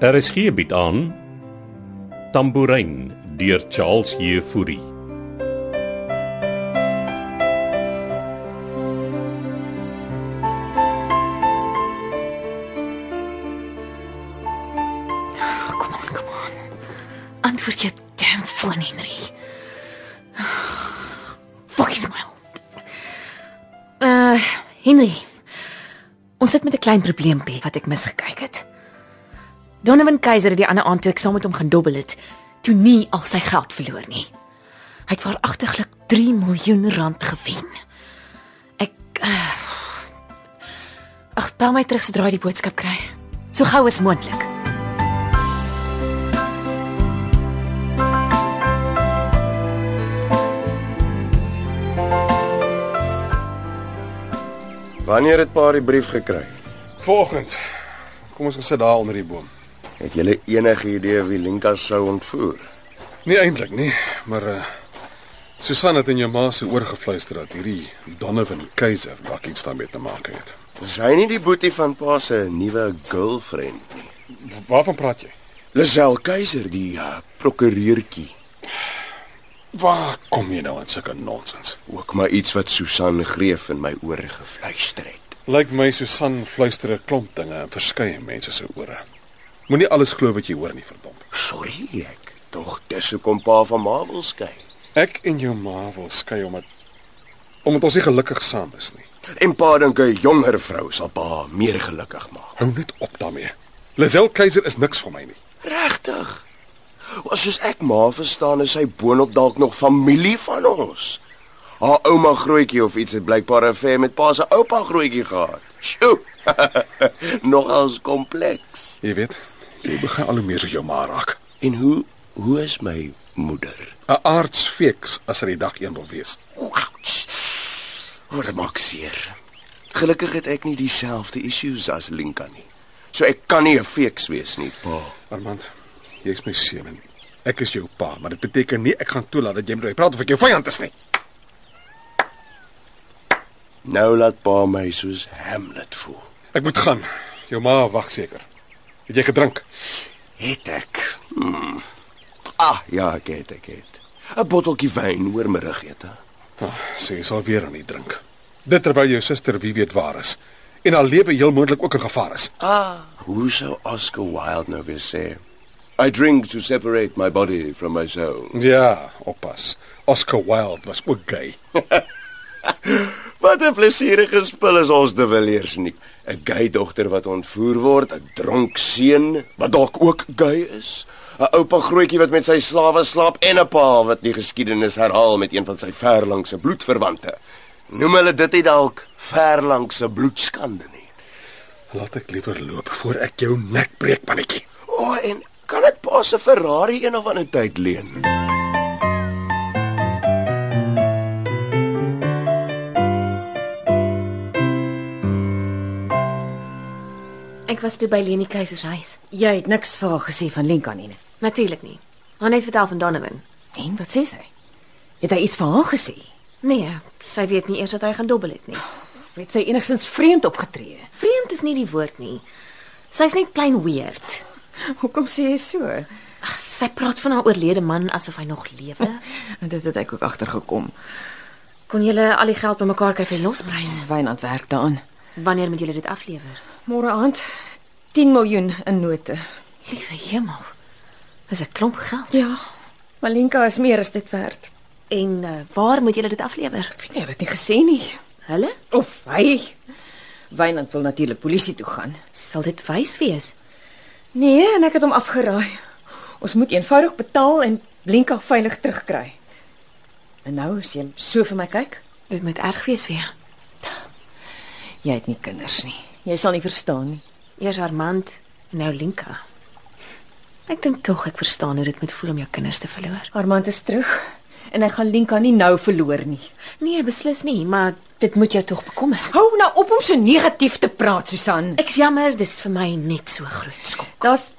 RSG bied Er aan Tambourin deur Charles Jefouri. Oh, kom aan, kom aan. Antwoord jou damn foon, Henry. Fuck is my. Uh, Henry. Ons sit met 'n klein probleempie wat ek misgekyk het. Donovan Keiser het die ander aand toe ek saam met hom gaan dobbel het, toe nie al sy geld verloor nie. Hy het waaragtiglik 3 miljoen rand gewen. Ek uh, Ag, bel my terug sodra jy die boodskap kry. So gou as moontlik. Wanneer het pa die brief gekry? Volgend. Kom ons gaan sit daar onder die boom. Het jy enige idee wie Linka sou ontvoer? Nie eintlik nie, maar eh uh, Susan het in jou ma se oor gefluister dat hierdie Donovan Keiser dalk iets daarmee te maak het. Is hy nie die boetie van pa se nuwe girlfriend nie? Waarvan praat jy? Lisel Keiser, die uh, prokureurtjie, Waar kom jy nou aan sulke nonsens? ook maar iets wat Susan Greef in my ore gefluister het. Lyk my Susan fluister 'n klomp dinge in verskeie mense se ore. Moenie alles glo wat jy hoor nie, verdomp. Sorry ek. Tog dis hoekom pa van ma wil skei. Ek en jou ma wil skei omdat omdat ons nie gelukkig saam is nie. En pa dink 'n jonger vrou sal pa meer gelukkig maak. Hou net op daarmee. Lisel Keiser is niks vir my nie. Regtig? As soos ek maar verstaan is sy boonop dalk nog familie van ons. Haar ouma grootjie of iets het blykbaar 'n affair met pa se oupa grootjie gehad. Sjoe. Nogals kompleks. Jy weet, jy begin al hoe meer soos jou ma raak. En hoe hoe is my moeder? 'n Aardsfeeks as hy die dag een wil wees. Ouch. Wat 'n makseer. Gelukkig het ek nie dieselfde issues as Linka nie. So ek kan nie 'n feeks wees nie, pa. Armand, jy's my seun en ek is jou pa, maar dit beteken nie ek gaan toelaat dat jy met my praat of ek jou vyand is nie. Nou laat pa my soos Hamlet voel. Ek moet gaan. Jou ma wag seker. Het jy gedrink? Het ek. Hmm. Ah, ja, ek het ek het. 'n Botteltjie wyn oor middagete. Ah, sê jy sal weer aan die drink. Dit terwyl jou suster wie weet waar is en haar lewe heel moontlik ook in gevaar is. Ah, hoe sou Oscar Wilde nou weer sê? I drink to separate my body from my soul. Ja, oppas. Oscar Wilde was ook gay. Wat 'n plesierige spul is ons De Villiers nie. 'n Gay dogter wat ontvoer word, 'n dronk seun wat dalk ook gay is, 'n oupa grootjie wat met sy slawe slaap en 'n pa wat die geskiedenis herhaal met een van sy verlangse bloedverwante. Noem hulle dit nie dalk verlangse bloedskande nie? Laat ek liewer loop voor ek jou nek breek, pannetjie. O, oh, en kan dit pa se Ferrari een of ander tyd leen? Ek was toe by Leni Keiser se huis. Jy het niks vir haar gesê van Lenka nie. ne? Natuurlik nie. Haar net vertel van Donovan. En wat sê sy? Het hy iets van haar gesê? Nee, sy weet nie eers dat hy gaan dobbel het nie. Het sy enigstens vreemd opgetree? Vreemd is nie die woord nie. Sy's net plain weird. Hoekom sê jy so? Ag, Sy praat van haar oorlede man asof hy nog lewe. Dit het ek ook agtergekom. Kon jy al die geld bymekaar kry vir die losprys? Wynand werk daaraan. Wanneer moet jy dit aflewer? Môre aand 10 miljoen in note. Liewe hemel. Dis 'n klomp geld. Ja, maar Lenka is meer as dit werd. En uh, waar moet jy dit aflewer? Ek weet nie, hy het dit nie gesê nie. Hulle Of hy. Wynand wil natuurlik polisie toe gaan. sal dit wys wees. Nee, en ek het hom afgeraai. Ons moet eenvoudig betaal en Lenka veilig terugkry. En nou as jy so vir my kyk, Dit moet erg wees vir jou. jy het nie kinders nie. Jy sal nie verstaan nie. Eers Armand, nou Linka. Ek dink tog ek verstaan hoe dit moet voel om jou kinders te verloor. Armand is terug en hy gaan Lenka nie nou verloor nie. Nee, beslis nie, maar dit moet jou tog bekommer. Hou nou op om so negatief te praat, Susan. Ek's jammer, dis vir my net so groot skok. Daar's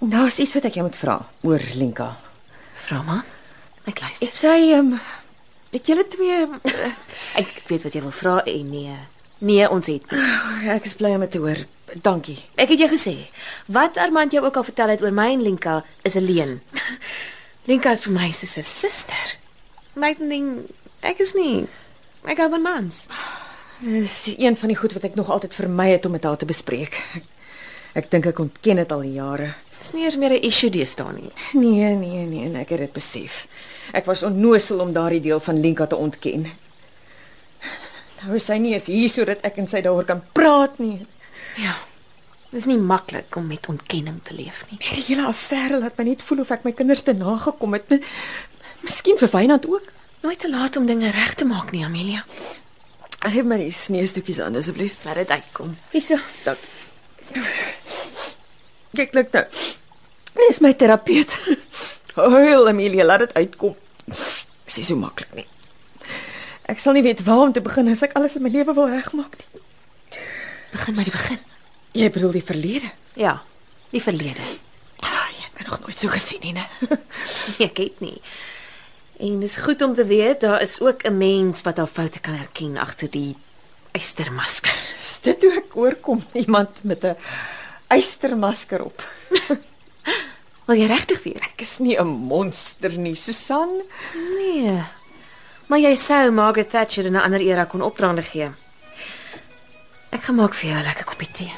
daar's iets wat ek jou moet vra oor Lenka. Vra maar. Ek luister. Het sy ehm um, het julle twee ehm, Ek weet wat jy wil vra en nee. Nee, ons het nie. ek Oh, is bly om dit te hoor. Dankie. Ek het jou gesê, wat Armand jou ook al vertel het oor my en Lenka is 'n leuen. Lenka is vir my soos 'n suster. My ding, ek is nie. Ek hou van mans. Dis een van die goed wat ek nog altyd vermy het om met haar te bespreek. Ek, ek dink ek ontken dit al die jare. Dis nie eers meer 'n issue deesdae nie. Nee, nee, nee, en ek het dit besef. Ek was onnoosel om daardie deel van Lenka te ontken. Nou is sy nie eens hier sodat ek en sy daaroor kan praat nie. Ja. Dis nie maklik om met ontkenning te leef nie. Die hele affære laat my net voel of ek my kinders te nagekom het. Mi- Miskien vir Wynand ook. Nooit te laat om dinge reg te maak nie, Amelia. Gee my die sneeustukkies aan asseblief. Laat dit uitkom. Hierso. Dank. Kyk, kyk nou. Dit is my terapeut. Huil, Amelia, laat dit uitkom. Dis nie so maklik nie. Ek sal nie weet waar om te begin as ek alles in my lewe wil regmaak nie. Begin by die begin. Jy bedoel die verlede? Ja, die verlede. Ai, ek het my nog nooit so gesien nie, né? Nee, ek het nie. En dis goed om te weet daar is ook 'n mens wat haar foute kan herken agter die eystermasker. Is dit hoe ek oorkom? Iemand met 'n eystermasker op. Wil jy regtig weer? Ek is nie 'n monster nie, Susan. Nee. Maar jy sou Margaret Thatcher in 'n ander era kon opdraande gee. Ek gaan maak vir jou 'n lekker koppie tee.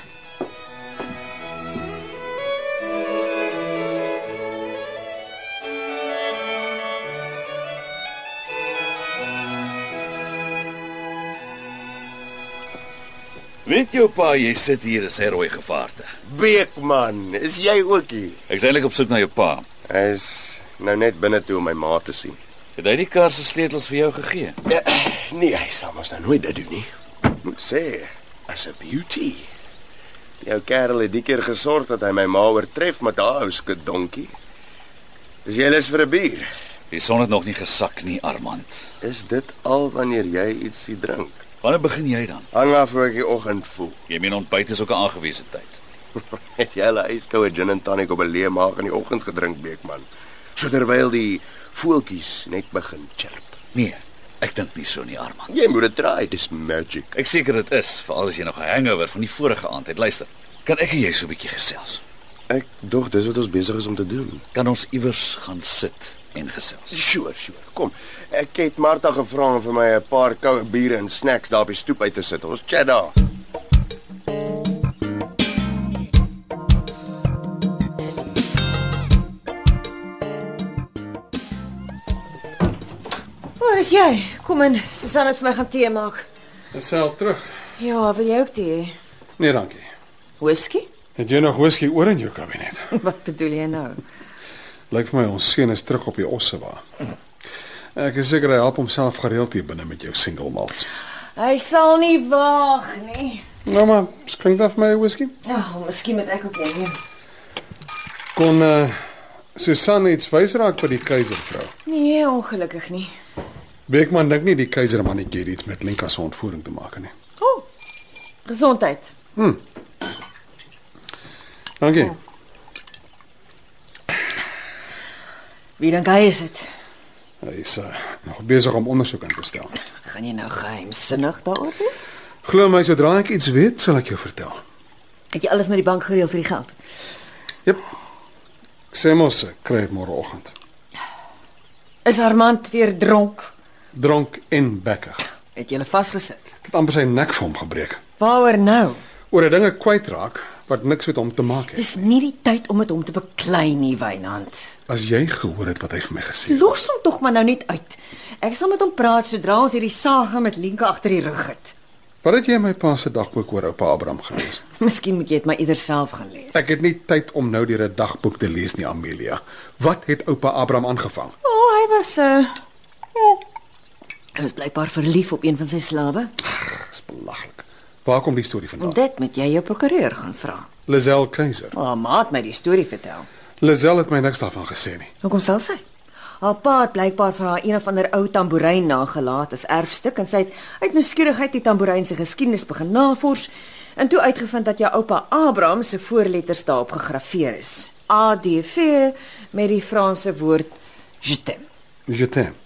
Weet jou pa, jy sit hier is hy rooi gevaarte. Beekman, is jy ook hier? Ek's eintlik op soek na jou pa. Hy is nou net binne toe om my ma te sien. Het hy die kar se sleutels vir jou gegee? Nee, hy sal mos nou nooit dit doen nie. Moet sê, as 'n beauty. Die ou kerel het die keer gesorg dat hy my ma oortref met daai ou skedonkie. Is jy lus vir 'n bier? Die son het nog nie gesak nie, Armand. Is dit al wanneer jy ietsie drink? Wanneer begin jy dan? Hang af hoe ek die oggend voel. Jy meen ontbyt is ook 'n aangewese tyd. Het jy al 'n yskoue gin en tonic op 'n leë maag in die oggend gedrink, Beekman? So terwyl die voeltjies net begin chirp. Nee, ek dink nie so nie, Armand. Jy moet dit try, dis magic. Ek seker dit is, veral as jy nog 'n hangover van die vorige aand het. Luister, kan ek en jy so 'n bietjie gesels? Ek dog dis wat ons besig is om te doen. Kan ons iewers gaan sit en gesels? Sure, sure. Kom. Ek het Martha gevra om vir my 'n paar koue biere en snacks daar op die stoep uit te sit. Ons chat daar. Waar is jy? Kom in. Susan het vir my gaan tee maak. Ons sal terug. Ja, wil jy ook tee? hê? Nee, dankie. Whisky? Het jy nog whisky oor in jou kabinet? Wat bedoel jy nou? Lyk vir my ons seun is terug op die Ossewa. Ek is seker hy help homself gereeld hier binne met jou single malts. Hy sal nie waag nie. Nou maar, klink dit vir my whisky? Ja, miskien moet ek ook een neem. Kon eh uh, Susan iets wys raak by die keiservrou. Nee, ongelukkig nie. Beekman dink nie die keisermannetjie het iets met Lenka se ontvoering te maak nie. O. Oh, gesondheid. Dankie. Wie dink hy is dit? Hy is uh, nog besig om ondersoek aan te stel. Gaan jy nou geheimsinnig daaroor wees? Glo my, sodra ek iets weet, sal ek jou vertel. Het jy alles met die bank gereël vir die geld? Jep. Ek sê mos ek kry dit môreoggend. Is Armand weer dronk? Dronk en bekkig. Het jy hulle vasgesit? Ek het amper sy nek vir hom gebreek. Waaroor nou? Oor 'n dinge kwytraak wat niks met hom te maak het. Dis nie die tyd om met hom te beklei nie, Wynand. As jy gehoor het wat hy vir my gesê het. Los hom tog maar nou net uit. Ek sal met hom praat sodra ons hierdie saga met Lenka agter die rug het. Wat het jy in my pa se dagboek oor oupa Abraham gelees? Miskien moet jy dit maar eerder self gaan lees. Ek het nie tyd om nou deur 'n dagboek te lees nie, Amelia. Wat het oupa Abraham aangevang? O, oh, hy was uh oh, Hy was blykbaar verlief op een van sy slawe. Dis belaglik. Waar kom die storie vandaan? Dit moet jy jou prokureur gaan vra. Lazel Keiser. Haar ma het my die storie vertel. Lazel het my niks daarvan gesê nie. Hoekom sal sy? Haar pa het blykbaar vir haar een of ander ou tamboerijn nagelaat as erfstuk en sy het uit nuuskierigheid die tamboerijn se geskiedenis begin navors en toe uitgevind dat jou oupa Abraham se voorletters daarop gegraveer is. ADV met die Franse woord je t'aime. Je t'aime.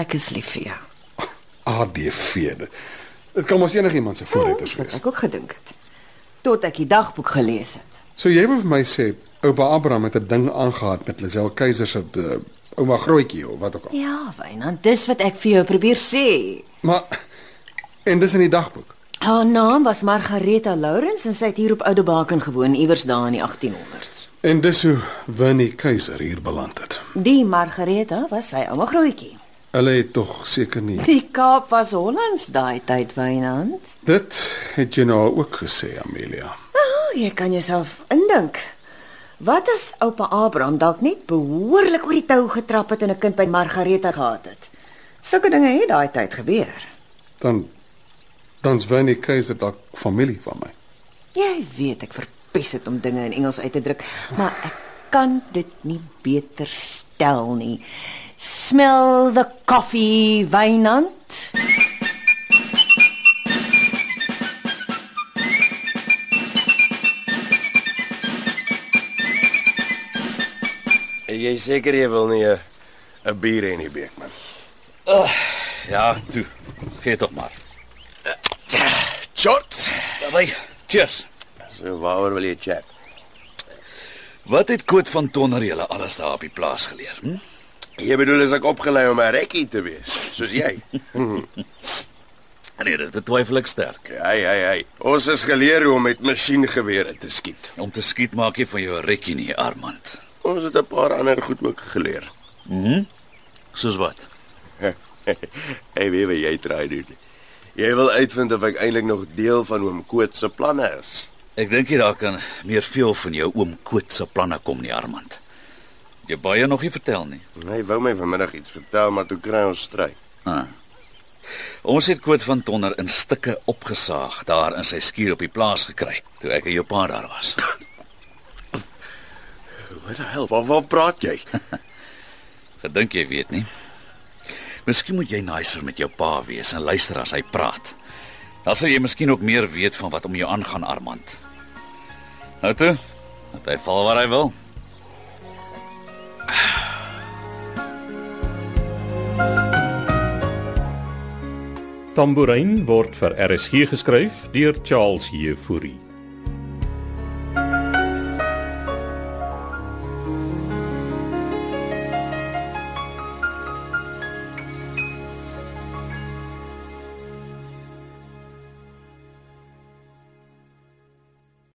Ek is lief vir jou. ADV. Dit kan mos enigiemand se Ja, voorretters dis wat wees. Ek ook gedink het. tot ek die dagboek gelees het. So jy wou vir my sê oupa Abraham het 'n ding aangehad met Lisel Keiser se eh, ouma Grootjie of wat ook al. Ja, Wynand, dis wat ek vir jou probeer sê. Maar en dis in die dagboek. Haar naam was Margareta Lawrence en sy het hier op Oudebaken gewoon iewers daar in die 1800s. En dis hoe Winnie Keiser hier beland het. Die Margareta was sy ouma grootjie. Hulle het tog seker nie. Die Kaap was Hollands daai tyd, Wynand. Dit het jy nou ook gesê, Amelia. Oh, jy kan jouself indink. Wat as oupa Abraham dalk net behoorlik oor die tou getrap het en 'n kind by Margareta gehad het? Sulke dinge het daai tyd gebeur. Dan dan's Winnie Keiser dalk familie van my. Jy weet ek verpes dit om dinge in Engels uit te druk, maar ek kan dit nie beter stel nie. Smell the coffee, Wynand. Jy is seker jy wil nie 'n 'n bier hê nie, Beekman. Ja, toe. Gee tog maar. Shots. Daai. Cheers. So waaroor wil jy chat? Wat het Koot van Tonner julle alles daar op die plaas geleer? Hm? Jy bedoel as ek opgelei om 'n rekkie te wees, soos jy. Nee, dit betwyfel ek sterk. Hey, hey, hey. Ons is geleer hoe om met masjingewere te skiet. Om te skiet maak jy van jou 'n rekkie nie, Armand. Ons het 'n paar ander goed ook geleer. Mhm. Soos wat? hey, weet wat jy try doen? Jy wil uitvind of ek eintlik nog deel van oom Koet se planne is. Ek dink jy daar kan meer veel van jou oom Koot se planne kom nie, Armand. Jy baie nog nie vertel nie. Hy wou my vanmiddag iets vertel, maar toe kry ons stryd. Ah. Ons het Koot van Tonner in stukke opgesaag daar in sy skuur op die plaas gekry toe ek en jou pa daar was. Wat die hel? Waar waar praat jy? Gedink jy weet nie. Miskien moet jy nicer met jou pa wees en luister as hy praat. Dan sal jy miskien ook meer weet van wat om jou aangaan, Armand. Nou toe, dat hy val waar hy wil. Tambourin word vir RSG geskryf deur Charles Heffury.